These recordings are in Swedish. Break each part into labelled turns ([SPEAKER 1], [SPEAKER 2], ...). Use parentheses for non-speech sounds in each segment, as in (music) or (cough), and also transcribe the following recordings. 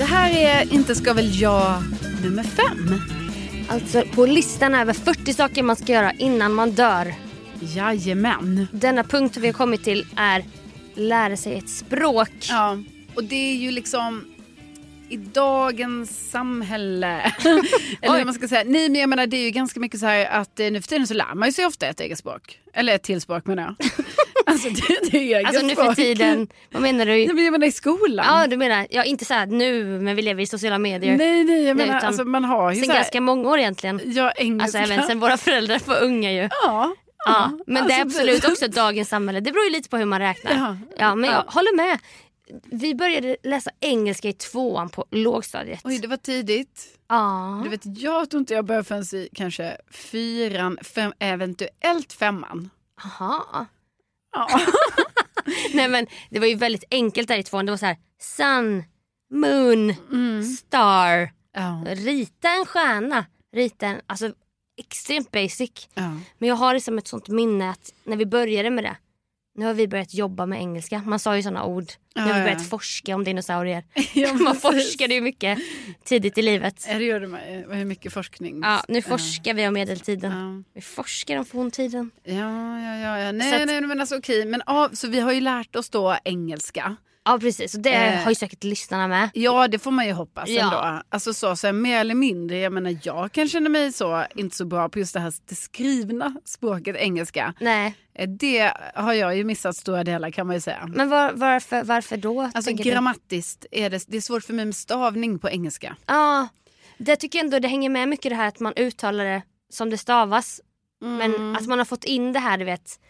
[SPEAKER 1] här är Inte ska väl jag nummer fem.
[SPEAKER 2] Alltså på listan över 40 saker man ska göra innan man dör.
[SPEAKER 1] Jajamän.
[SPEAKER 2] Denna punkt vi har kommit till är lära sig ett språk.
[SPEAKER 1] Ja. Och det är ju liksom i dagens samhälle. (laughs) Eller hur man ska säga. Nej men jag menar det är ju ganska mycket så här att eh, nu för tiden så lär man ju sig ofta ett eget språk. Eller ett till språk menar (laughs) jag. alltså det, det är ju eget
[SPEAKER 2] Alltså nu för
[SPEAKER 1] språk.
[SPEAKER 2] tiden, vad menar
[SPEAKER 1] Nej
[SPEAKER 2] du?
[SPEAKER 1] men jag menar i skolan.
[SPEAKER 2] Ja du menar, ja inte så här nu men vi lever i sociala medier.
[SPEAKER 1] nej nej jag
[SPEAKER 2] Nej,
[SPEAKER 1] menar
[SPEAKER 2] utan
[SPEAKER 1] alltså man har ju
[SPEAKER 2] Sen
[SPEAKER 1] så här,
[SPEAKER 2] ganska många år egentligen.
[SPEAKER 1] ja
[SPEAKER 2] Alltså
[SPEAKER 1] engelska.
[SPEAKER 2] även sen våra föräldrar var unga ju.
[SPEAKER 1] Ja.
[SPEAKER 2] Ja, men det är
[SPEAKER 1] Alltså,
[SPEAKER 2] absolut
[SPEAKER 1] det-
[SPEAKER 2] också dagens samhälle. Det beror ju lite på hur man räknar.
[SPEAKER 1] Ja.
[SPEAKER 2] Ja, men jag
[SPEAKER 1] Ja.
[SPEAKER 2] håller med. Vi började läsa engelska i tvåan på lågstadiet.
[SPEAKER 1] Oj det var tidigt.
[SPEAKER 2] ja.
[SPEAKER 1] Du vet jag tror inte jag började förrän i kanske fyran, fem, eventuellt femman.
[SPEAKER 2] Aha.
[SPEAKER 1] (laughs) Ja.
[SPEAKER 2] (laughs) Nej men det var ju väldigt enkelt där i tvåan. Det var så här sun, moon,
[SPEAKER 1] Mm.
[SPEAKER 2] star.
[SPEAKER 1] ja.
[SPEAKER 2] Rita en stjärna. Rita en, alltså extremt basic.
[SPEAKER 1] ja.
[SPEAKER 2] (laughs) Men jag har liksom ett sånt minne att när vi började med det. Nu har vi börjat jobba med engelska. Man sa ju såna ord. Nu har
[SPEAKER 1] Ja,
[SPEAKER 2] vi
[SPEAKER 1] ja,
[SPEAKER 2] börjat
[SPEAKER 1] ja.
[SPEAKER 2] forska om dinosaurier.
[SPEAKER 1] Ja,
[SPEAKER 2] (laughs) Man
[SPEAKER 1] precis.
[SPEAKER 2] forskade ju mycket tidigt i livet.
[SPEAKER 1] Ja, det gjorde man ju. Hur mycket forskning.
[SPEAKER 2] Ja, nu
[SPEAKER 1] Eh,
[SPEAKER 2] forskar vi om medeltiden.
[SPEAKER 1] ja.
[SPEAKER 2] Vi forskar om forntiden.
[SPEAKER 1] Ja, ja, ja. ja.
[SPEAKER 2] Så
[SPEAKER 1] Nej,
[SPEAKER 2] att-
[SPEAKER 1] nej, men alltså okej. Men, ja, så vi har ju lärt oss då engelska.
[SPEAKER 2] Ja precis, och det
[SPEAKER 1] Eh.
[SPEAKER 2] har ju säkert lyssnarna med.
[SPEAKER 1] Ja, det får man ju hoppas
[SPEAKER 2] Ja.
[SPEAKER 1] ändå. Alltså så, så här, mer eller mindre. Jag menar, jag kan känna mig så, inte så bra på just det här det skrivna språket engelska.
[SPEAKER 2] Nej,
[SPEAKER 1] Eh, Det har jag ju missat stora delar kan man ju säga.
[SPEAKER 2] men var, varför, varför då?
[SPEAKER 1] Alltså
[SPEAKER 2] tänker du?
[SPEAKER 1] grammatiskt är det, det är svårt för mig med stavning på engelska.
[SPEAKER 2] Ja, det tycker jag ändå det hänger med mycket det här att man uttalar det som det stavas.
[SPEAKER 1] Mm.
[SPEAKER 2] Men att man har fått in det här du vet.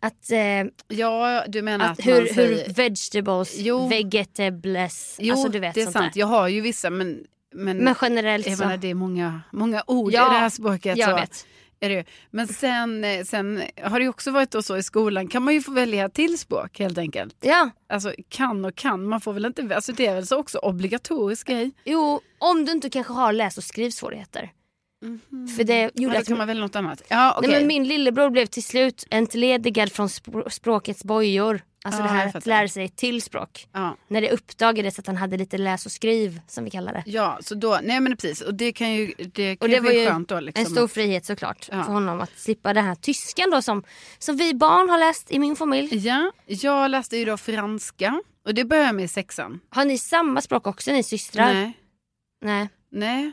[SPEAKER 2] Att, eh,
[SPEAKER 1] Ja, du menar att,
[SPEAKER 2] att hur,
[SPEAKER 1] man säger...
[SPEAKER 2] hur vegetables,
[SPEAKER 1] Jo.
[SPEAKER 2] vegetables.
[SPEAKER 1] Jo,
[SPEAKER 2] alltså du vet
[SPEAKER 1] det är
[SPEAKER 2] sånt
[SPEAKER 1] sant.
[SPEAKER 2] där.
[SPEAKER 1] Jag har ju vissa, men... men...
[SPEAKER 2] Men generellt
[SPEAKER 1] Jag
[SPEAKER 2] så.
[SPEAKER 1] menar, det är många, många ord
[SPEAKER 2] Ja,
[SPEAKER 1] i det här språket.
[SPEAKER 2] jag
[SPEAKER 1] så
[SPEAKER 2] vet.
[SPEAKER 1] Är det. ju. Men sen, eh, sen har det ju också varit då så i skolan, kan man ju få välja till språk helt enkelt.
[SPEAKER 2] Ja,
[SPEAKER 1] Alltså kan och kan, man får väl inte, alltså det är väl så också obligatorisk grej.
[SPEAKER 2] jo om du inte kanske har läs och skrivsvårigheter. För det
[SPEAKER 1] Mm. Ja,
[SPEAKER 2] gjorde
[SPEAKER 1] då
[SPEAKER 2] att
[SPEAKER 1] kan man välja något annat. Ja, okej.
[SPEAKER 2] Nej, men min lillebror blev till slut entledigad från spr- språkets bojor. Alltså
[SPEAKER 1] Ja,
[SPEAKER 2] det
[SPEAKER 1] Ah, jag
[SPEAKER 2] här att
[SPEAKER 1] fattar.
[SPEAKER 2] lära sig ett till språk.
[SPEAKER 1] ja.
[SPEAKER 2] När det uppdagades att han hade lite läs och skriv som vi kallar det.
[SPEAKER 1] ja, så då, nej men precis, och det kan ju, det
[SPEAKER 2] Och
[SPEAKER 1] kan
[SPEAKER 2] det var ju
[SPEAKER 1] är skönt då liksom.
[SPEAKER 2] en stor frihet såklart
[SPEAKER 1] Ja.
[SPEAKER 2] för honom att slippa den här tyskan då som, som vi barn har läst i min familj.
[SPEAKER 1] Ja, jag läste ju då franska och det började med i sexan.
[SPEAKER 2] Har ni samma språk också ni systrar?
[SPEAKER 1] Nej,
[SPEAKER 2] Nej. (laughs)
[SPEAKER 1] nej,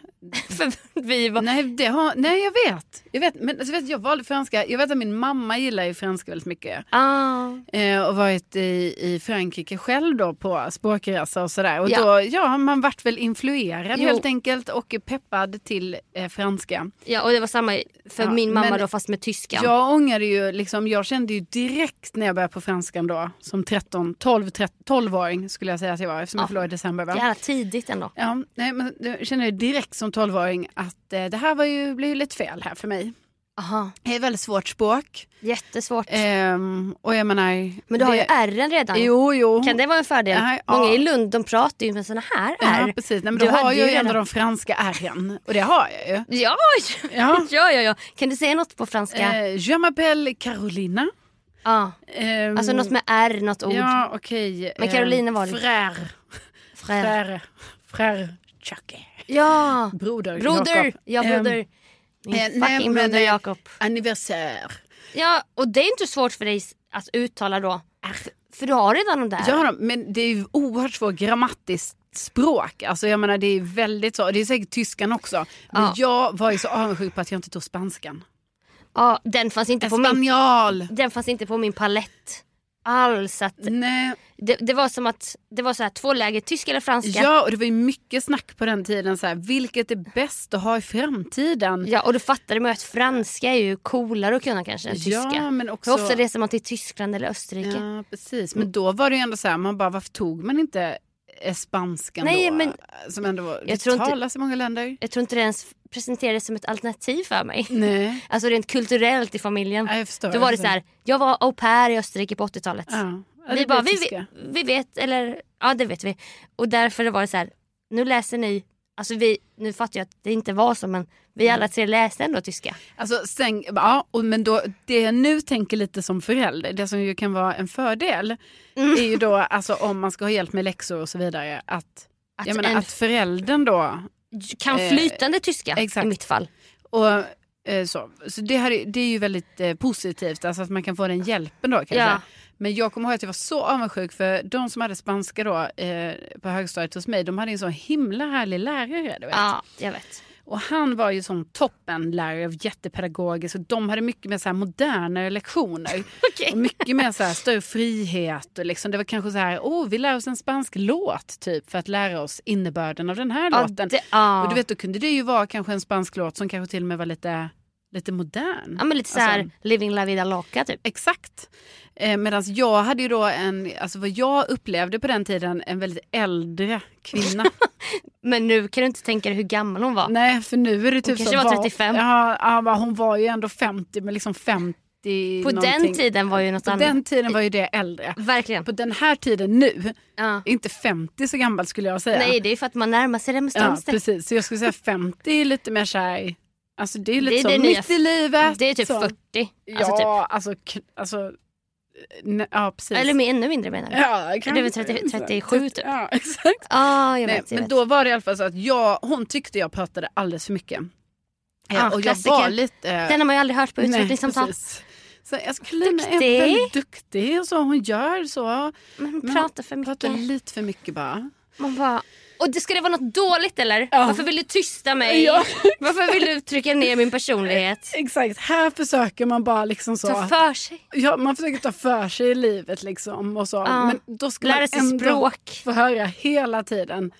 [SPEAKER 2] för vi var...
[SPEAKER 1] Nej, det har, nej jag vet. Jag vet, men, alltså, vet du, jag valde franska. Jag vet att min mamma gillar ju franska väldigt mycket.
[SPEAKER 2] Ah.
[SPEAKER 1] Eh, och varit i, i Frankrike själv då på språkresa och sådär. Och
[SPEAKER 2] Ja.
[SPEAKER 1] då, ja, man vart väl influerad
[SPEAKER 2] Jo.
[SPEAKER 1] helt enkelt och peppad till eh, franska.
[SPEAKER 2] Ja och det var samma för
[SPEAKER 1] Ja,
[SPEAKER 2] min mamma
[SPEAKER 1] men-
[SPEAKER 2] då fast med tyskan.
[SPEAKER 1] Jag ångrade ju, liksom, jag kände ju direkt när jag började på franskan då, som 13, 12, 13, 12-åring skulle jag säga att jag var eftersom jag
[SPEAKER 2] Ja.
[SPEAKER 1] förlorade i december. Va?
[SPEAKER 2] Jävla tidigt ändå.
[SPEAKER 1] Ja, nej, men jag kände ju direkt som 12-åring att eh, det här var ju, blev ju lite fel här för mig.
[SPEAKER 2] Aha.
[SPEAKER 1] Det är ett väldigt svårt språk.
[SPEAKER 2] Jättesvårt.
[SPEAKER 1] Ehm, och jag menar...
[SPEAKER 2] men du har ju
[SPEAKER 1] det-
[SPEAKER 2] ärren redan.
[SPEAKER 1] Jo, jo.
[SPEAKER 2] Kan det vara en fördel?
[SPEAKER 1] Nej, ja.
[SPEAKER 2] Många i Lund de pratar ju med såna här
[SPEAKER 1] Ja,
[SPEAKER 2] R.
[SPEAKER 1] precis. Nej, men
[SPEAKER 2] Du
[SPEAKER 1] då har
[SPEAKER 2] hade
[SPEAKER 1] jag ju
[SPEAKER 2] ju
[SPEAKER 1] ändå
[SPEAKER 2] redan-
[SPEAKER 1] de franska R'n. Och det har jag ju.
[SPEAKER 2] Ja,
[SPEAKER 1] Ja.
[SPEAKER 2] ja. (laughs) ja, ja, ja. Kan du säga något på franska?
[SPEAKER 1] Eh, je m'appelle Carolina.
[SPEAKER 2] ja.
[SPEAKER 1] Ehm,
[SPEAKER 2] Alltså något med R, något ord.
[SPEAKER 1] Ja, okej. eh,
[SPEAKER 2] Men Carolina var det.
[SPEAKER 1] Frère.
[SPEAKER 2] Frère.
[SPEAKER 1] Frère. Frère. Chucky.
[SPEAKER 2] Ja,
[SPEAKER 1] Broder.
[SPEAKER 2] broder.
[SPEAKER 1] Jakob.
[SPEAKER 2] Ja,
[SPEAKER 1] Ehm,
[SPEAKER 2] broder. Min
[SPEAKER 1] eh, nej,
[SPEAKER 2] fucking
[SPEAKER 1] men,
[SPEAKER 2] broder
[SPEAKER 1] eh,
[SPEAKER 2] Jakob.
[SPEAKER 1] Anniversaire.
[SPEAKER 2] Ja, och det är inte svårt för dig att uttala då. F- För du har redan de där.
[SPEAKER 1] Ja, då, men det är ju oerhört svårt grammatiskt språk. Alltså jag menar det är väldigt så. Det är säkert tyskan också. Men
[SPEAKER 2] Ja.
[SPEAKER 1] jag var ju så avundsjuk på att jag inte tog spanskan.
[SPEAKER 2] Ja, den fanns inte på min,
[SPEAKER 1] Espanjol!
[SPEAKER 2] den fanns inte på min palett. Alls att
[SPEAKER 1] Nej,
[SPEAKER 2] det, det var som att det var så här två läger, tyska eller franska.
[SPEAKER 1] ja och det var ju mycket snack på den tiden så här, vilket är bäst att ha i framtiden?
[SPEAKER 2] Ja, och då fattade man ju att franska är ju coolare att kunna kanske än
[SPEAKER 1] Ja,
[SPEAKER 2] tyska.
[SPEAKER 1] men
[SPEAKER 2] För
[SPEAKER 1] också...
[SPEAKER 2] ofta reser man till Tyskland eller Österrike.
[SPEAKER 1] Ja, precis. Men då var det ju ändå så här, man bara varför tog man inte eh, spanskan
[SPEAKER 2] Nej,
[SPEAKER 1] då?
[SPEAKER 2] men-
[SPEAKER 1] Som ändå var, det
[SPEAKER 2] Jag tror inte-
[SPEAKER 1] talas i många länder.
[SPEAKER 2] Jag tror inte det ens presenterades som ett alternativ för mig.
[SPEAKER 1] Nej,
[SPEAKER 2] Alltså rent kulturellt i familjen.
[SPEAKER 1] ja, jag förstår.
[SPEAKER 2] Då var det så här, jag var au pair i Österrike på 80-talet.
[SPEAKER 1] Ja. Ja,
[SPEAKER 2] vi
[SPEAKER 1] det
[SPEAKER 2] bara,
[SPEAKER 1] blir
[SPEAKER 2] vi,
[SPEAKER 1] tyska.
[SPEAKER 2] vi vet, eller ja det vet vi. Och därför var det så här, nu läser ni, alltså vi, nu fattar jag att det inte var så men vi
[SPEAKER 1] Mm.
[SPEAKER 2] alla tre läste ändå tyska.
[SPEAKER 1] Alltså, sen, ja, och, men då, det jag nu tänker lite som förälder, det som ju
[SPEAKER 2] Mm.
[SPEAKER 1] kan vara en fördel, är ju då alltså, om man ska ha hjälp med läxor och så vidare, att
[SPEAKER 2] Att
[SPEAKER 1] Jag menar
[SPEAKER 2] en
[SPEAKER 1] att föräldern då,
[SPEAKER 2] kan
[SPEAKER 1] eh,
[SPEAKER 2] flytande tyska
[SPEAKER 1] exakt.
[SPEAKER 2] i mitt fall.
[SPEAKER 1] och eh, så, så det, här, är- det är ju väldigt eh, positivt, alltså att man kan få den hjälpen då kanske.
[SPEAKER 2] Ja.
[SPEAKER 1] Men jag kommer ihåg att jag var så avundsjuk för de som hade spanska då eh, på högstadiet hos mig, de hade en så himla härlig lärare. Du vet.
[SPEAKER 2] Ja,
[SPEAKER 1] (laughs)
[SPEAKER 2] jag vet.
[SPEAKER 1] Och han var ju sån toppenlärare och jättepedagogisk och de hade mycket mer så här modernare lektioner.
[SPEAKER 2] Okej.
[SPEAKER 1] Och mycket mer så här större frihet och liksom, det var kanske så här, åh vi lär oss en spansk låt typ för att lära oss innebörden av den här
[SPEAKER 2] Ja,
[SPEAKER 1] låten.
[SPEAKER 2] det- ja.
[SPEAKER 1] Och du vet då kunde det ju vara kanske en spansk låt som kanske till och med var lite, lite modern.
[SPEAKER 2] ja, men lite såhär
[SPEAKER 1] Alltså-
[SPEAKER 2] living la vida loca typ.
[SPEAKER 1] Exakt. Eh, Medan jag hade ju då en, alltså vad jag upplevde på den tiden, en väldigt äldre
[SPEAKER 2] (laughs)
[SPEAKER 1] kvinna.
[SPEAKER 2] Men nu kan du inte tänka dig hur gammal hon var.
[SPEAKER 1] Nej, för nu är det typ
[SPEAKER 2] kanske
[SPEAKER 1] så.
[SPEAKER 2] var 35.
[SPEAKER 1] Ja, ja, men hon var ju ändå 50, men liksom 50
[SPEAKER 2] På den
[SPEAKER 1] någonting.
[SPEAKER 2] tiden var ju något
[SPEAKER 1] På
[SPEAKER 2] annat.
[SPEAKER 1] den tiden var ju det äldre.
[SPEAKER 2] Verkligen.
[SPEAKER 1] På den här tiden nu,
[SPEAKER 2] Ja.
[SPEAKER 1] är inte 50 så gammal skulle jag säga.
[SPEAKER 2] Nej det är ju för att man närmar sig
[SPEAKER 1] ja,
[SPEAKER 2] remonstrans.
[SPEAKER 1] precis. Så jag skulle säga 50 är lite mer såhär, alltså det är lite
[SPEAKER 2] Det är
[SPEAKER 1] så
[SPEAKER 2] det nya-
[SPEAKER 1] mitt i livet.
[SPEAKER 2] det är typ
[SPEAKER 1] så.
[SPEAKER 2] 40.
[SPEAKER 1] Ja,
[SPEAKER 2] Alltså, typ.
[SPEAKER 1] alltså, k- alltså ne- ja precis.
[SPEAKER 2] Eller mer, ännu mindre menar jag.
[SPEAKER 1] Ja,
[SPEAKER 2] Det är väl 30 37 typ.
[SPEAKER 1] Ja, exakt.
[SPEAKER 2] Ah, jag
[SPEAKER 1] Nej,
[SPEAKER 2] vet, jag
[SPEAKER 1] men
[SPEAKER 2] vet.
[SPEAKER 1] då var det i alla fall så att jag, hon tyckte jag pratade alldeles för mycket. Eh,
[SPEAKER 2] Ah,
[SPEAKER 1] och jag
[SPEAKER 2] klassiker.
[SPEAKER 1] var lite... eh,
[SPEAKER 2] Den har man ju aldrig hört på Liksom
[SPEAKER 1] nej,
[SPEAKER 2] utvecklingssamtal.
[SPEAKER 1] precis. Så alltså, Carolina är
[SPEAKER 2] Duktig.
[SPEAKER 1] väldigt duktig och så hon gör så.
[SPEAKER 2] Men hon
[SPEAKER 1] Men
[SPEAKER 2] pratar för mycket.
[SPEAKER 1] Pratar lite för mycket bara.
[SPEAKER 2] Man bara, och det, ska det vara något dåligt eller?
[SPEAKER 1] Ja.
[SPEAKER 2] Varför vill du tysta mig?
[SPEAKER 1] Ja.
[SPEAKER 2] Varför vill du trycka ner min personlighet?
[SPEAKER 1] Exakt, här försöker man bara liksom så.
[SPEAKER 2] Ta för sig.
[SPEAKER 1] ja, man försöker ta för sig i livet liksom och så.
[SPEAKER 2] Ja.
[SPEAKER 1] Men då ska
[SPEAKER 2] Lära
[SPEAKER 1] man
[SPEAKER 2] sig
[SPEAKER 1] ändå
[SPEAKER 2] språk.
[SPEAKER 1] få höra hela tiden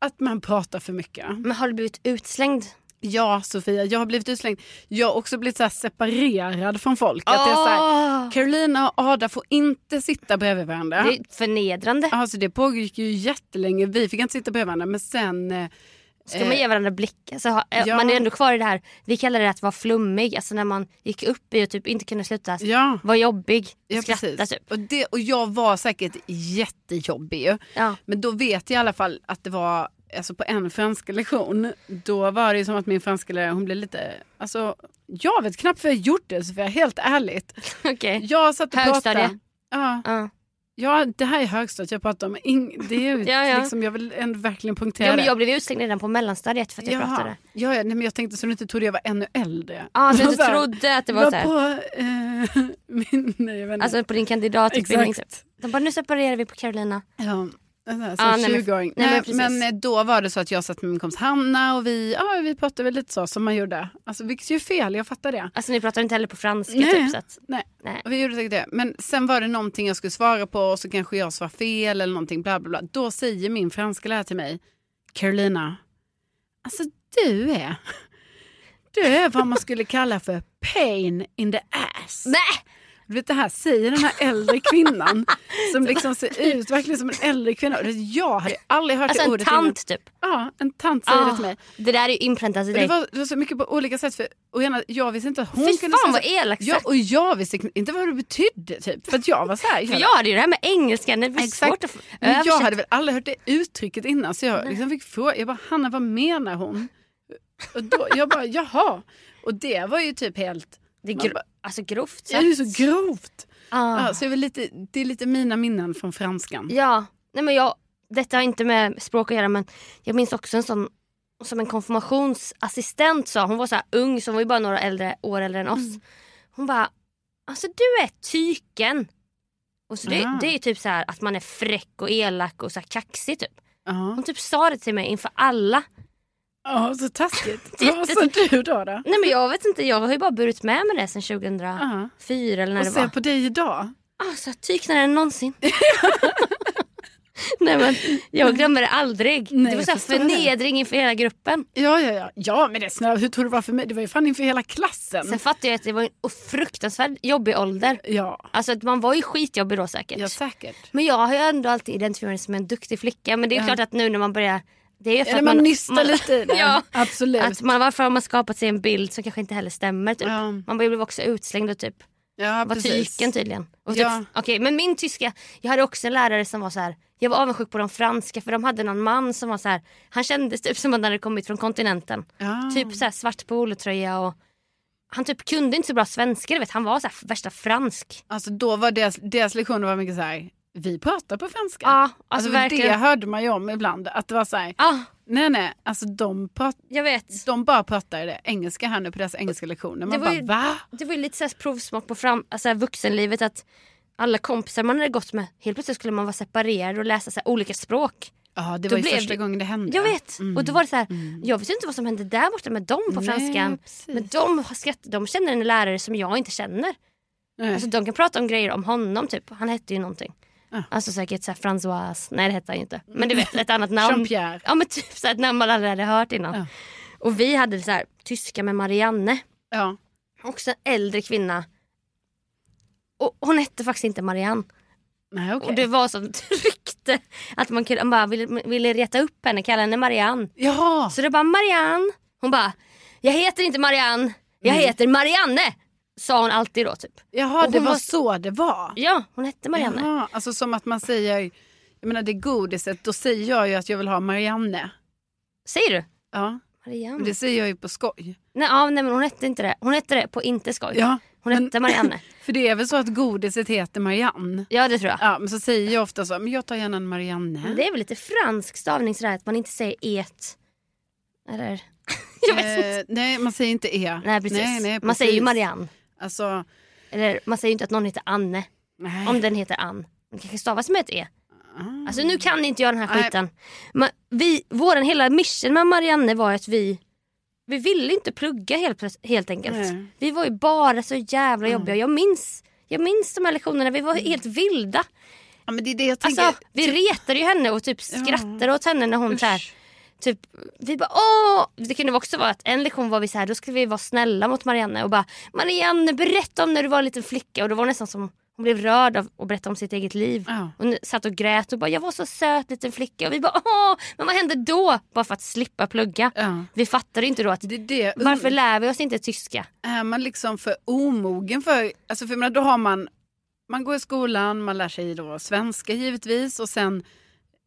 [SPEAKER 1] att man pratar för mycket.
[SPEAKER 2] Men har du blivit utslängd?
[SPEAKER 1] Ja, Sofia, jag har blivit utslängd. Jag har också blivit så här separerad från folk. Att det är så här,
[SPEAKER 2] Åh,
[SPEAKER 1] Carolina och Ada får inte sitta bredvid varandra.
[SPEAKER 2] det är förnedrande.
[SPEAKER 1] Alltså det pågick ju jättelänge. Vi fick inte sitta bredvid varandra men sen... eh,
[SPEAKER 2] Ska man ge varandra blickar så har, eh,
[SPEAKER 1] ja.
[SPEAKER 2] man är ändå kvar i det här, vi kallar det att vara flummig, alltså när man gick upp i och typ inte kunde sluta
[SPEAKER 1] Ja,
[SPEAKER 2] vara jobbig,
[SPEAKER 1] ja
[SPEAKER 2] skratta
[SPEAKER 1] precis.
[SPEAKER 2] typ.
[SPEAKER 1] Och, det, och jag var säkert jättejobbig ju.
[SPEAKER 2] Ja.
[SPEAKER 1] Men då vet jag i alla fall att det var alltså på en franska lektion. Då var det ju som att min franska lärare hon blev lite... Alltså jag vet knappt vad jag gjorde Sofia, helt ärligt.
[SPEAKER 2] Okej.
[SPEAKER 1] Jag satt och
[SPEAKER 2] Högstadie.
[SPEAKER 1] pratade. Ja,
[SPEAKER 2] Ja.
[SPEAKER 1] ja, det här är högstadiet jag pratar om. Ing, det är ju
[SPEAKER 2] (laughs) Ja, ja.
[SPEAKER 1] Liksom, jag vill ändå verkligen punktera
[SPEAKER 2] Ja,
[SPEAKER 1] det.
[SPEAKER 2] men jag blev utslängd redan på mellanstadiet för att jag
[SPEAKER 1] Jaha.
[SPEAKER 2] pratade.
[SPEAKER 1] Ja, ja, nej, men jag tänkte så du inte trodde jag var ännu äldre.
[SPEAKER 2] Ja, så jag inte
[SPEAKER 1] Så här,
[SPEAKER 2] trodde att det var
[SPEAKER 1] var
[SPEAKER 2] så här.
[SPEAKER 1] på eh, (laughs) min... Nej, jag vet inte.
[SPEAKER 2] Alltså på din kandidatutbildning.
[SPEAKER 1] Exakt.
[SPEAKER 2] typ. De bara nu separerar vi på Carolina.
[SPEAKER 1] ja. Alltså,
[SPEAKER 2] Ja, nej, men-
[SPEAKER 1] 20-åring.
[SPEAKER 2] nej, men
[SPEAKER 1] Nej,
[SPEAKER 2] precis.
[SPEAKER 1] men eh, då var det så att jag satt med min kompis Hanna och vi, ja, vi pratade väl lite så som man gjorde. Alltså, vilket ju är fel, jag fattar det.
[SPEAKER 2] Alltså ni pratar inte heller på franska
[SPEAKER 1] Nej.
[SPEAKER 2] typ. Så att,
[SPEAKER 1] Nej.
[SPEAKER 2] nej.
[SPEAKER 1] Och Vi gjorde säkert det. Men sen var det någonting jag skulle svara på och så kanske jag svarade fel eller någonting. Bla, bla, bla. Då säger min franska lärare till mig, Carolina, alltså du är, du är vad man skulle kalla för pain in the ass.
[SPEAKER 2] nej!
[SPEAKER 1] Du vet det här, säger den här äldre kvinnan
[SPEAKER 2] (laughs)
[SPEAKER 1] som liksom ser ut verkligen som en äldre kvinna. Och det- Jag hade aldrig hört
[SPEAKER 2] Alltså
[SPEAKER 1] det
[SPEAKER 2] en
[SPEAKER 1] ordet
[SPEAKER 2] tant typ.
[SPEAKER 1] innan. Ja, en tant säger det
[SPEAKER 2] Ah,
[SPEAKER 1] till mig.
[SPEAKER 2] det där är ju inpräntat i
[SPEAKER 1] Och det,
[SPEAKER 2] dig.
[SPEAKER 1] var, det var så mycket på olika sätt. För, och ena, jag visste inte att hon
[SPEAKER 2] Fy
[SPEAKER 1] kunde säga
[SPEAKER 2] fan
[SPEAKER 1] så.
[SPEAKER 2] vad elakt
[SPEAKER 1] Ja,
[SPEAKER 2] sagt.
[SPEAKER 1] och jag visste kn- inte vad det betydde typ. För att jag var så här.
[SPEAKER 2] För jag hade ju det här med engelskan, det var
[SPEAKER 1] Exakt.
[SPEAKER 2] svårt att få-
[SPEAKER 1] men jag
[SPEAKER 2] översätta.
[SPEAKER 1] hade väl aldrig hört det uttrycket innan så jag liksom fick fråga, jag bara Hanna vad menar hon? Och då, jag bara jaha. Och det var ju typ helt,
[SPEAKER 2] Det är
[SPEAKER 1] Man
[SPEAKER 2] gro-
[SPEAKER 1] bara-
[SPEAKER 2] alltså grovt
[SPEAKER 1] det är ju så alltså, grovt.
[SPEAKER 2] ah.
[SPEAKER 1] Ja, så jag är väl lite, det är lite mina minnen från franskan.
[SPEAKER 2] Ja, nej men jag, detta har inte med språk att göra men jag minns också en sån som en konfirmationsassistent sa, hon var så här ung så hon var ju bara några äldre, år äldre än oss.
[SPEAKER 1] Mm.
[SPEAKER 2] Hon bara, alltså du är tyken. Och så det,
[SPEAKER 1] Ah.
[SPEAKER 2] det är typ så här att man är fräck och elak och så här kaxig typ.
[SPEAKER 1] Ja.
[SPEAKER 2] Hon typ sa det till mig inför alla.
[SPEAKER 1] Ja, så
[SPEAKER 2] (laughs)
[SPEAKER 1] taskigt.
[SPEAKER 2] Jätte-
[SPEAKER 1] Vad sa du då? då?
[SPEAKER 2] Nej men jag vet inte, jag har ju bara burit med mig det sen 2004
[SPEAKER 1] Ja.
[SPEAKER 2] eller när
[SPEAKER 1] Och
[SPEAKER 2] det
[SPEAKER 1] se
[SPEAKER 2] var.
[SPEAKER 1] på dig idag.
[SPEAKER 2] Alltså tyknare än någonsin. (laughs) Nej men jag glömmer det aldrig.
[SPEAKER 1] Nej,
[SPEAKER 2] det var
[SPEAKER 1] jag
[SPEAKER 2] så här
[SPEAKER 1] förstår det.
[SPEAKER 2] förnedring inför hela gruppen.
[SPEAKER 1] Ja, ja, ja. Ja, men det är snälla, hur tror du det var för mig? Det var ju fan inför hela klassen.
[SPEAKER 2] Sen fattade jag att det var en fruktansvärt jobbig ålder.
[SPEAKER 1] Ja,
[SPEAKER 2] Alltså att man var ju skitjobbig då säkert.
[SPEAKER 1] ja, säkert.
[SPEAKER 2] Men jag har ju ändå alltid identifierat mig som en duktig flicka. Men det är
[SPEAKER 1] Ja.
[SPEAKER 2] klart att nu när man börjar... Det är ju för
[SPEAKER 1] Eller
[SPEAKER 2] att
[SPEAKER 1] man,
[SPEAKER 2] man
[SPEAKER 1] nystar
[SPEAKER 2] man-
[SPEAKER 1] lite i det.
[SPEAKER 2] (laughs) ja.
[SPEAKER 1] Absolut.
[SPEAKER 2] Att typ man, varför har man skapat sig en bild som kanske inte heller stämmer? Typ.
[SPEAKER 1] Ja.
[SPEAKER 2] Man blev också utslängd och typ
[SPEAKER 1] ja,
[SPEAKER 2] var
[SPEAKER 1] precis.
[SPEAKER 2] tyken tydligen. Och typ,
[SPEAKER 1] Ja.
[SPEAKER 2] Okej men min tyska, jag hade också en lärare som var så här. Jag var avundsjuk på de franska för de hade någon man som var så här. Han kändes typ som att han hade kommit från kontinenten.
[SPEAKER 1] Ja.
[SPEAKER 2] Typ så här svart polotröja och han typ kunde inte så bra svenska du vet. Han var så här värsta fransk.
[SPEAKER 1] Alltså då var deras, deras lektioner var mycket så här, vi pratar på svenska.
[SPEAKER 2] Ja, alltså,
[SPEAKER 1] alltså,
[SPEAKER 2] verkligen.
[SPEAKER 1] Det hörde man ju om ibland, att det var så här,
[SPEAKER 2] Ja,
[SPEAKER 1] nej nej, alltså de, prat,
[SPEAKER 2] jag vet.
[SPEAKER 1] de bara pratar det engelska här nu på deras engelska lektioner. Man
[SPEAKER 2] Det
[SPEAKER 1] bara
[SPEAKER 2] var ju-
[SPEAKER 1] va?
[SPEAKER 2] Det var ju lite så här provsmak på fram, alltså här vuxenlivet att alla kompisar man hade gått med, helt plötsligt skulle man vara separerad och läsa så här olika språk.
[SPEAKER 1] Ja, det
[SPEAKER 2] Då
[SPEAKER 1] var ju
[SPEAKER 2] blev
[SPEAKER 1] första
[SPEAKER 2] det-
[SPEAKER 1] gången det hände.
[SPEAKER 2] Jag vet!
[SPEAKER 1] Mm.
[SPEAKER 2] Och då var det så här,
[SPEAKER 1] Mm.
[SPEAKER 2] jag visste inte vad som hände där borta med dem på
[SPEAKER 1] Nej,
[SPEAKER 2] franskan.
[SPEAKER 1] precis.
[SPEAKER 2] Men de, har skratt, de känner en lärare som jag inte känner.
[SPEAKER 1] Nej.
[SPEAKER 2] Alltså de kan prata om grejer om honom typ. Han hette ju någonting.
[SPEAKER 1] Ja.
[SPEAKER 2] Alltså säkert såhär François. Nej det hette han ju inte. Men du vet ett annat namn.
[SPEAKER 1] Jean-Pierre. Ah.
[SPEAKER 2] Ja men typ såhär ett namn man aldrig hade hört innan.
[SPEAKER 1] Ja.
[SPEAKER 2] Och vi hade så här, tyska med Marianne.
[SPEAKER 1] Ja.
[SPEAKER 2] Också en äldre kvinna. Och hon hette faktiskt inte Marianne.
[SPEAKER 1] Nej, okej.
[SPEAKER 2] Och det var (laughs) sånt rykte att man, kunde, man bara ville, ville reta upp henne, kalla henne Marianne.
[SPEAKER 1] Jaha,
[SPEAKER 2] Så det bara Marianne. Hon bara, jag heter inte Marianne, jag
[SPEAKER 1] Mm.
[SPEAKER 2] heter Marianne. Sa hon alltid då typ.
[SPEAKER 1] Jaha
[SPEAKER 2] Och
[SPEAKER 1] det
[SPEAKER 2] hon
[SPEAKER 1] var
[SPEAKER 2] var-
[SPEAKER 1] så det var.
[SPEAKER 2] Ja, hon hette Marianne.
[SPEAKER 1] Jaha, alltså som att man säger, jag menar det godiset, då säger jag ju att jag vill ha Marianne.
[SPEAKER 2] Säger du?
[SPEAKER 1] Ja,
[SPEAKER 2] Marianne?
[SPEAKER 1] men det säger jag ju på skoj.
[SPEAKER 2] Nej, ja, nej men hon hette inte det. Hon hette det på inte skoj.
[SPEAKER 1] Ja,
[SPEAKER 2] hon
[SPEAKER 1] men- (laughs)
[SPEAKER 2] hette Marianne.
[SPEAKER 1] För det är väl så att godiset heter Marianne?
[SPEAKER 2] Ja det tror jag.
[SPEAKER 1] Ja, men så säger jag ofta så, men jag tar gärna en Marianne.
[SPEAKER 2] Det är väl lite fransk stavning sådär att man inte säger et. Eller? jag vet inte.
[SPEAKER 1] Eh, nej, man säger inte E.
[SPEAKER 2] Nej precis.
[SPEAKER 1] Nej, nej,
[SPEAKER 2] Man säger ju
[SPEAKER 1] precis.
[SPEAKER 2] Marianne.
[SPEAKER 1] Alltså,
[SPEAKER 2] Eller man säger ju inte att någon heter Anne.
[SPEAKER 1] nej.
[SPEAKER 2] Om den heter Ann. Den kanske stavas med ett e.
[SPEAKER 1] Ah.
[SPEAKER 2] Alltså nu kan inte jag den här
[SPEAKER 1] Nej.
[SPEAKER 2] skiten. Men vi, våran hela mission med Marianne var ju att vi vi ville inte plugga helt, plöts- helt enkelt.
[SPEAKER 1] Nej.
[SPEAKER 2] Vi var ju bara så jävla jobbiga. Jag minns, jag minns de här lektionerna, vi var helt vilda.
[SPEAKER 1] ja, men det är det jag Mm. tänker.
[SPEAKER 2] Alltså, vi retade ju henne och typ skrattade åt henne när hon så här,
[SPEAKER 1] Usch.
[SPEAKER 2] typ, vi bara åh. Det kunde också vara att en lektion var vi så här, då skulle vi vara snälla mot Marianne och bara Marianne berätta om när du var en liten flicka och då var det nästan som hon blev rörd av att berätta om sitt eget liv.
[SPEAKER 1] Ja.
[SPEAKER 2] Hon satt och grät och bara jag var så söt liten flicka och vi bara åh men vad hände då? Bara för att slippa plugga.
[SPEAKER 1] Ja.
[SPEAKER 2] Vi fattade ju inte då att
[SPEAKER 1] Det är det.
[SPEAKER 2] varför lär vi oss inte tyska?
[SPEAKER 1] Är man liksom för omogen för, alltså för jag menar, då har man, man går i skolan, man lär sig då svenska givetvis och sen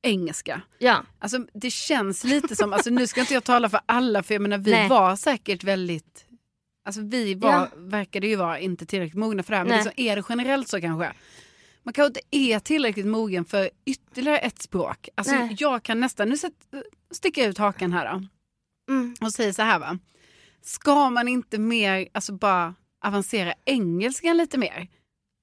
[SPEAKER 1] engelska.
[SPEAKER 2] Ja.
[SPEAKER 1] Alltså det känns lite som, alltså nu ska inte jag tala för alla för jag menar vi
[SPEAKER 2] Nej.
[SPEAKER 1] var säkert väldigt, alltså vi var,
[SPEAKER 2] Ja.
[SPEAKER 1] verkade ju vara inte tillräckligt mogna för det här men
[SPEAKER 2] Nej.
[SPEAKER 1] liksom, är det generellt så kanske? Man kanske inte är tillräckligt mogen för ytterligare ett språk. Alltså
[SPEAKER 2] Nej.
[SPEAKER 1] jag kan nästan, nu sätt, sticker jag ut hakan här då
[SPEAKER 2] Mm.
[SPEAKER 1] och säger så här va. Ska man inte mer, alltså bara avancera engelskan lite mer?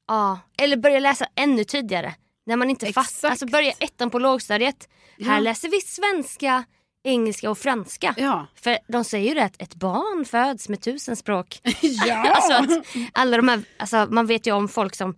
[SPEAKER 2] Ja, eller börja läsa ännu tidigare. När man inte
[SPEAKER 1] Exakt.
[SPEAKER 2] fattar. Alltså börja ettan på lågstadiet.
[SPEAKER 1] Ja.
[SPEAKER 2] Här läser vi svenska, engelska och franska. (laughs)
[SPEAKER 1] Ja.
[SPEAKER 2] För de säger ju det att ett barn föds med tusen språk.
[SPEAKER 1] ja.
[SPEAKER 2] Alltså att alla de här, alltså man vet ju om folk som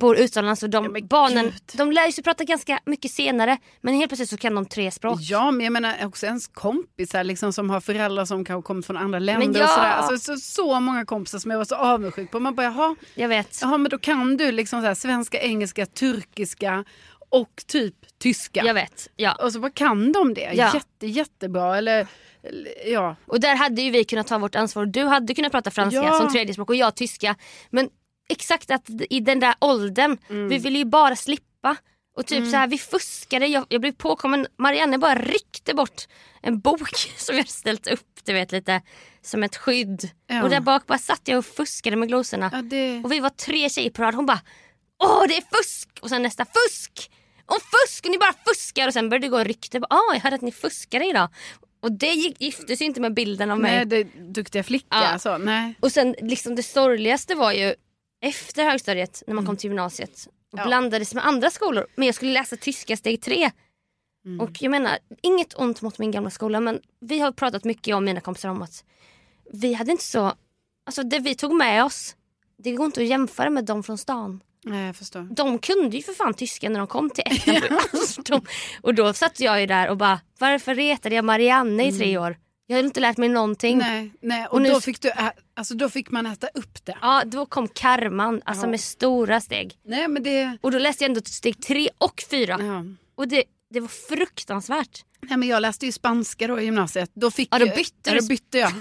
[SPEAKER 2] bor utomlands och
[SPEAKER 1] Ja,
[SPEAKER 2] de
[SPEAKER 1] men
[SPEAKER 2] barnen
[SPEAKER 1] gud.
[SPEAKER 2] de lär ju sig prata ganska mycket senare men helt plötsligt så kan de tre språk.
[SPEAKER 1] Ja, men jag menar också ens kompisar liksom, som har föräldrar som kanske kommit från andra länder.
[SPEAKER 2] ja!
[SPEAKER 1] Och sådär. Alltså, så, så många kompisar som jag var så avundsjuk på. Man bara, jaha,
[SPEAKER 2] Jag vet.
[SPEAKER 1] jaha men då kan du liksom såhär, svenska, engelska, turkiska och typ tyska.
[SPEAKER 2] Jag vet. Ja.
[SPEAKER 1] Och så bara kan de det?
[SPEAKER 2] Ja.
[SPEAKER 1] Jätte, jättebra. Eller, eller, ja.
[SPEAKER 2] Och där hade ju vi kunnat ta vårt ansvar. Du hade kunnat prata franska
[SPEAKER 1] Ja.
[SPEAKER 2] som tredje språk och jag tyska. Men exakt att i den där åldern,
[SPEAKER 1] Mm.
[SPEAKER 2] vi ville ju bara slippa. Och typ så här, vi fuskade. Jag, jag blev påkommen. Marianne bara ryckte bort en bok (laughs) som jag ställt upp du vet lite som ett skydd.
[SPEAKER 1] Ja.
[SPEAKER 2] Och där bak bara satt jag och fuskade med glosorna.
[SPEAKER 1] ja det...
[SPEAKER 2] Och vi var tre tjejer på rad. Hon bara Åh det är fusk! Och sen nästa fusk! Och fusk! Och ni bara fuskar! Och sen började det gå rykte. Bara, Ah, jag hörde att ni fuskade idag. Och det gick, gifte sig inte med bilden av mig.
[SPEAKER 1] Nej, det duktiga flicka.
[SPEAKER 2] Ja.
[SPEAKER 1] Så, nej.
[SPEAKER 2] Och sen liksom det sorgligaste var ju efter högstadiet när man kom till gymnasiet. Och
[SPEAKER 1] Mm. Ja.
[SPEAKER 2] blandades med andra skolor. Men jag skulle läsa tyska steg tre.
[SPEAKER 1] Mm.
[SPEAKER 2] Och jag menar, inget ont mot min gamla skola men vi har pratat mycket jag och mina kompisar om att vi hade inte så, alltså det vi tog med oss det går inte att jämföra med de från stan.
[SPEAKER 1] nej, jag förstår.
[SPEAKER 2] De kunde ju för fan tyska när de kom till
[SPEAKER 1] (laughs)
[SPEAKER 2] ettan. Alltså, de- och då satt jag ju där och bara, varför retade jag Marianne i tre år? Jag har inte lärt mig någonting.
[SPEAKER 1] Mm. Nej, nej. Och,
[SPEAKER 2] Och nu-
[SPEAKER 1] då, fick du, ä- alltså, då fick man äta upp det.
[SPEAKER 2] Ja, då kom karman, alltså
[SPEAKER 1] Ja.
[SPEAKER 2] med stora steg.
[SPEAKER 1] Nej, men det...
[SPEAKER 2] Och då läste jag ändå till steg tre och fyra.
[SPEAKER 1] Ja.
[SPEAKER 2] Och det, det var fruktansvärt.
[SPEAKER 1] Nej, men jag läste ju spanska då i gymnasiet. Då fick
[SPEAKER 2] Ja, då
[SPEAKER 1] jag-
[SPEAKER 2] bytte
[SPEAKER 1] ja,
[SPEAKER 2] du-
[SPEAKER 1] då bytte jag.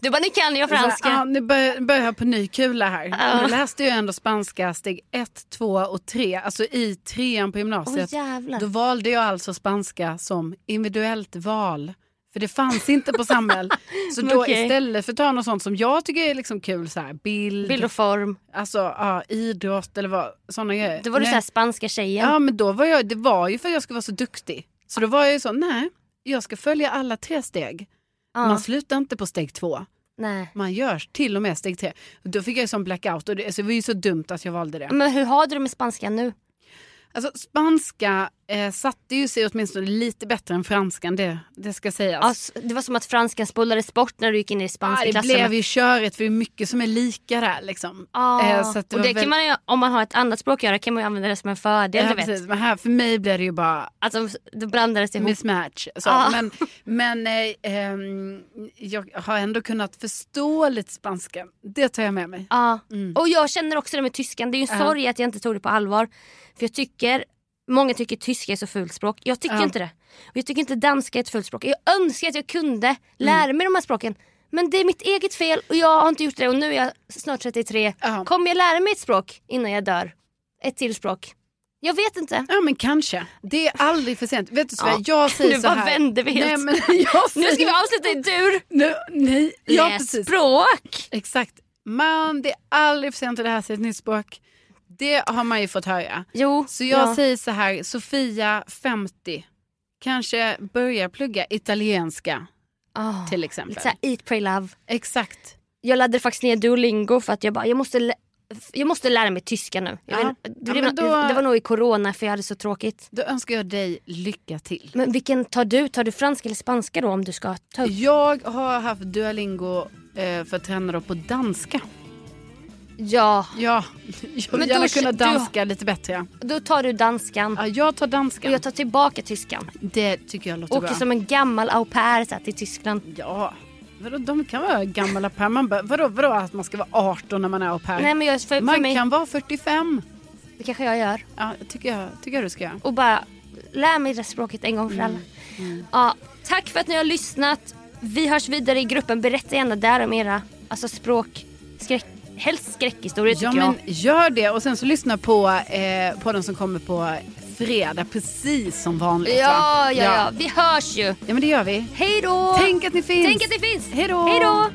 [SPEAKER 2] Du bara, nu kan jag (laughs) franska.
[SPEAKER 1] Så, ja, nu börjar, börjar jag på ny kula här.
[SPEAKER 2] Ja.
[SPEAKER 1] Men Då läste jag ändå spanska steg 1, 2 och 3. Alltså i trean på
[SPEAKER 2] Åh
[SPEAKER 1] gymnasiet.
[SPEAKER 2] jävlar.
[SPEAKER 1] då valde jag alltså spanska som individuellt val. För det fanns inte på
[SPEAKER 2] (laughs)
[SPEAKER 1] Samhäll. Så då
[SPEAKER 2] Okej.
[SPEAKER 1] istället för att ta något sånt som jag tycker är liksom kul, så här, bild,
[SPEAKER 2] Bild och form.
[SPEAKER 1] Alltså, ja, idrott eller vad, sådana grejer.
[SPEAKER 2] Då var du
[SPEAKER 1] Nej.
[SPEAKER 2] såhär spanska tjejen.
[SPEAKER 1] Ja men då var jag, det var ju för att jag skulle vara så duktig. Så då var jag ju så, nej, jag ska följa alla tre steg.
[SPEAKER 2] Ja,
[SPEAKER 1] Man slutar inte på steg två,
[SPEAKER 2] Nej.
[SPEAKER 1] man gör till och med steg tre. Då fick jag ju sån blackout och det, alltså, det var ju så dumt att jag valde det.
[SPEAKER 2] Men hur har du det med spanska nu?
[SPEAKER 1] Alltså spanska eh, satte ju sig åtminstone lite bättre än franskan, det, det ska sägas.
[SPEAKER 2] Alltså, det var som att franskan spolades bort när du gick in i det
[SPEAKER 1] Ah,
[SPEAKER 2] spanska
[SPEAKER 1] det
[SPEAKER 2] klassrummet.
[SPEAKER 1] blev ju körigt för det är mycket som är lika där liksom.
[SPEAKER 2] Ja,
[SPEAKER 1] Eh, så att det
[SPEAKER 2] och
[SPEAKER 1] var
[SPEAKER 2] det
[SPEAKER 1] väl-
[SPEAKER 2] kan man ju, om man har ett annat språk att göra kan man ju använda det som en fördel.
[SPEAKER 1] Ja,
[SPEAKER 2] du vet.
[SPEAKER 1] precis. Men här, för mig blev det ju bara
[SPEAKER 2] Att de, de blandades ihop.
[SPEAKER 1] mismatch. Så.
[SPEAKER 2] Ah.
[SPEAKER 1] Men, men eh, ehm, jag har ändå kunnat förstå lite spanska. Det tar jag med mig.
[SPEAKER 2] Ja.
[SPEAKER 1] Mm.
[SPEAKER 2] Och jag känner också det med tyskan. Det är ju en
[SPEAKER 1] Ja.
[SPEAKER 2] sorg att jag inte tog det på allvar. För jag tycker, många tycker tyska är så fult språk. Jag tycker
[SPEAKER 1] Ja.
[SPEAKER 2] inte det. Och jag tycker inte danska är ett fult språk. Jag önskar att jag
[SPEAKER 1] Mm.
[SPEAKER 2] kunde lära mig de här språken. Men det är mitt eget fel och jag har inte gjort det och nu är jag snart 33.
[SPEAKER 1] Ja.
[SPEAKER 2] Kommer jag lära mig ett språk innan jag dör? Ett till språk? Jag vet inte.
[SPEAKER 1] Ja men kanske. Det är aldrig för sent. Vet du Sofia,
[SPEAKER 2] Ja.
[SPEAKER 1] jag säger
[SPEAKER 2] Nu
[SPEAKER 1] så
[SPEAKER 2] bara
[SPEAKER 1] här.
[SPEAKER 2] vänder vi
[SPEAKER 1] nej,
[SPEAKER 2] helt.
[SPEAKER 1] men (laughs) jag
[SPEAKER 2] Nu
[SPEAKER 1] säger,
[SPEAKER 2] ska vi avsluta i dur.
[SPEAKER 1] nu, nej, ja,
[SPEAKER 2] Läs
[SPEAKER 1] precis.
[SPEAKER 2] språk!
[SPEAKER 1] Exakt. Man, det är aldrig för sent att lära sig ett nytt språk. Det har man ju fått höra.
[SPEAKER 2] Jo,
[SPEAKER 1] Så jag
[SPEAKER 2] ja.
[SPEAKER 1] säger så här, Sofia 50, kanske börja plugga italienska
[SPEAKER 2] Ah,
[SPEAKER 1] till exempel.
[SPEAKER 2] lite såhär eat, pray, love.
[SPEAKER 1] Exakt.
[SPEAKER 2] jag laddade faktiskt ner Duolingo för att jag bara, jag måste, lä- jag måste lära mig tyska nu. Jag
[SPEAKER 1] Ja.
[SPEAKER 2] vill, det,
[SPEAKER 1] Ja,
[SPEAKER 2] blev
[SPEAKER 1] men
[SPEAKER 2] nå-
[SPEAKER 1] då-
[SPEAKER 2] det var nog i corona för jag hade så tråkigt.
[SPEAKER 1] Då önskar jag dig lycka till.
[SPEAKER 2] Men vilken tar du? Tar du franska eller spanska då om du ska ta upp?
[SPEAKER 1] Jag har haft Duolingo eh, för att träna då på danska.
[SPEAKER 2] Ja,
[SPEAKER 1] Ja, jag
[SPEAKER 2] Men
[SPEAKER 1] vill
[SPEAKER 2] då
[SPEAKER 1] gärna
[SPEAKER 2] kö-
[SPEAKER 1] kunna
[SPEAKER 2] du-
[SPEAKER 1] danska lite bättre.
[SPEAKER 2] då tar du danskan.
[SPEAKER 1] Ja, jag tar
[SPEAKER 2] Och
[SPEAKER 1] danska.
[SPEAKER 2] jag tar tillbaka tyskan.
[SPEAKER 1] Det tycker jag låter
[SPEAKER 2] Åker
[SPEAKER 1] bra.
[SPEAKER 2] som en gammal au pair så här, till Tyskland.
[SPEAKER 1] Ja, vadå, de kan vara gamla per. Man bara, vadå, vadå att man ska vara 18 när man är au pair?
[SPEAKER 2] Nej men jag, för, för
[SPEAKER 1] man
[SPEAKER 2] mig,
[SPEAKER 1] kan vara 45.
[SPEAKER 2] det kanske jag gör.
[SPEAKER 1] Ja, tycker jag, tycker jag du ska göra.
[SPEAKER 2] Och bara lär mig det språket en gång för alla. Ja, tack för att ni har lyssnat. Vi hörs vidare i gruppen. Berätta gärna där om era alltså språk, skräck, helst skräckhistorier
[SPEAKER 1] Ja,
[SPEAKER 2] tycker jag.
[SPEAKER 1] men gör det. Och sen så lyssna på eh, podden som kommer på fredag, precis som vanligt.
[SPEAKER 2] Ja, ja,
[SPEAKER 1] va?
[SPEAKER 2] ja. Vi hörs ju.
[SPEAKER 1] Ja, men det gör vi.
[SPEAKER 2] Hej då!
[SPEAKER 1] Tänk att ni finns.
[SPEAKER 2] Tänk att det finns.
[SPEAKER 1] Hej då.
[SPEAKER 2] Hej då!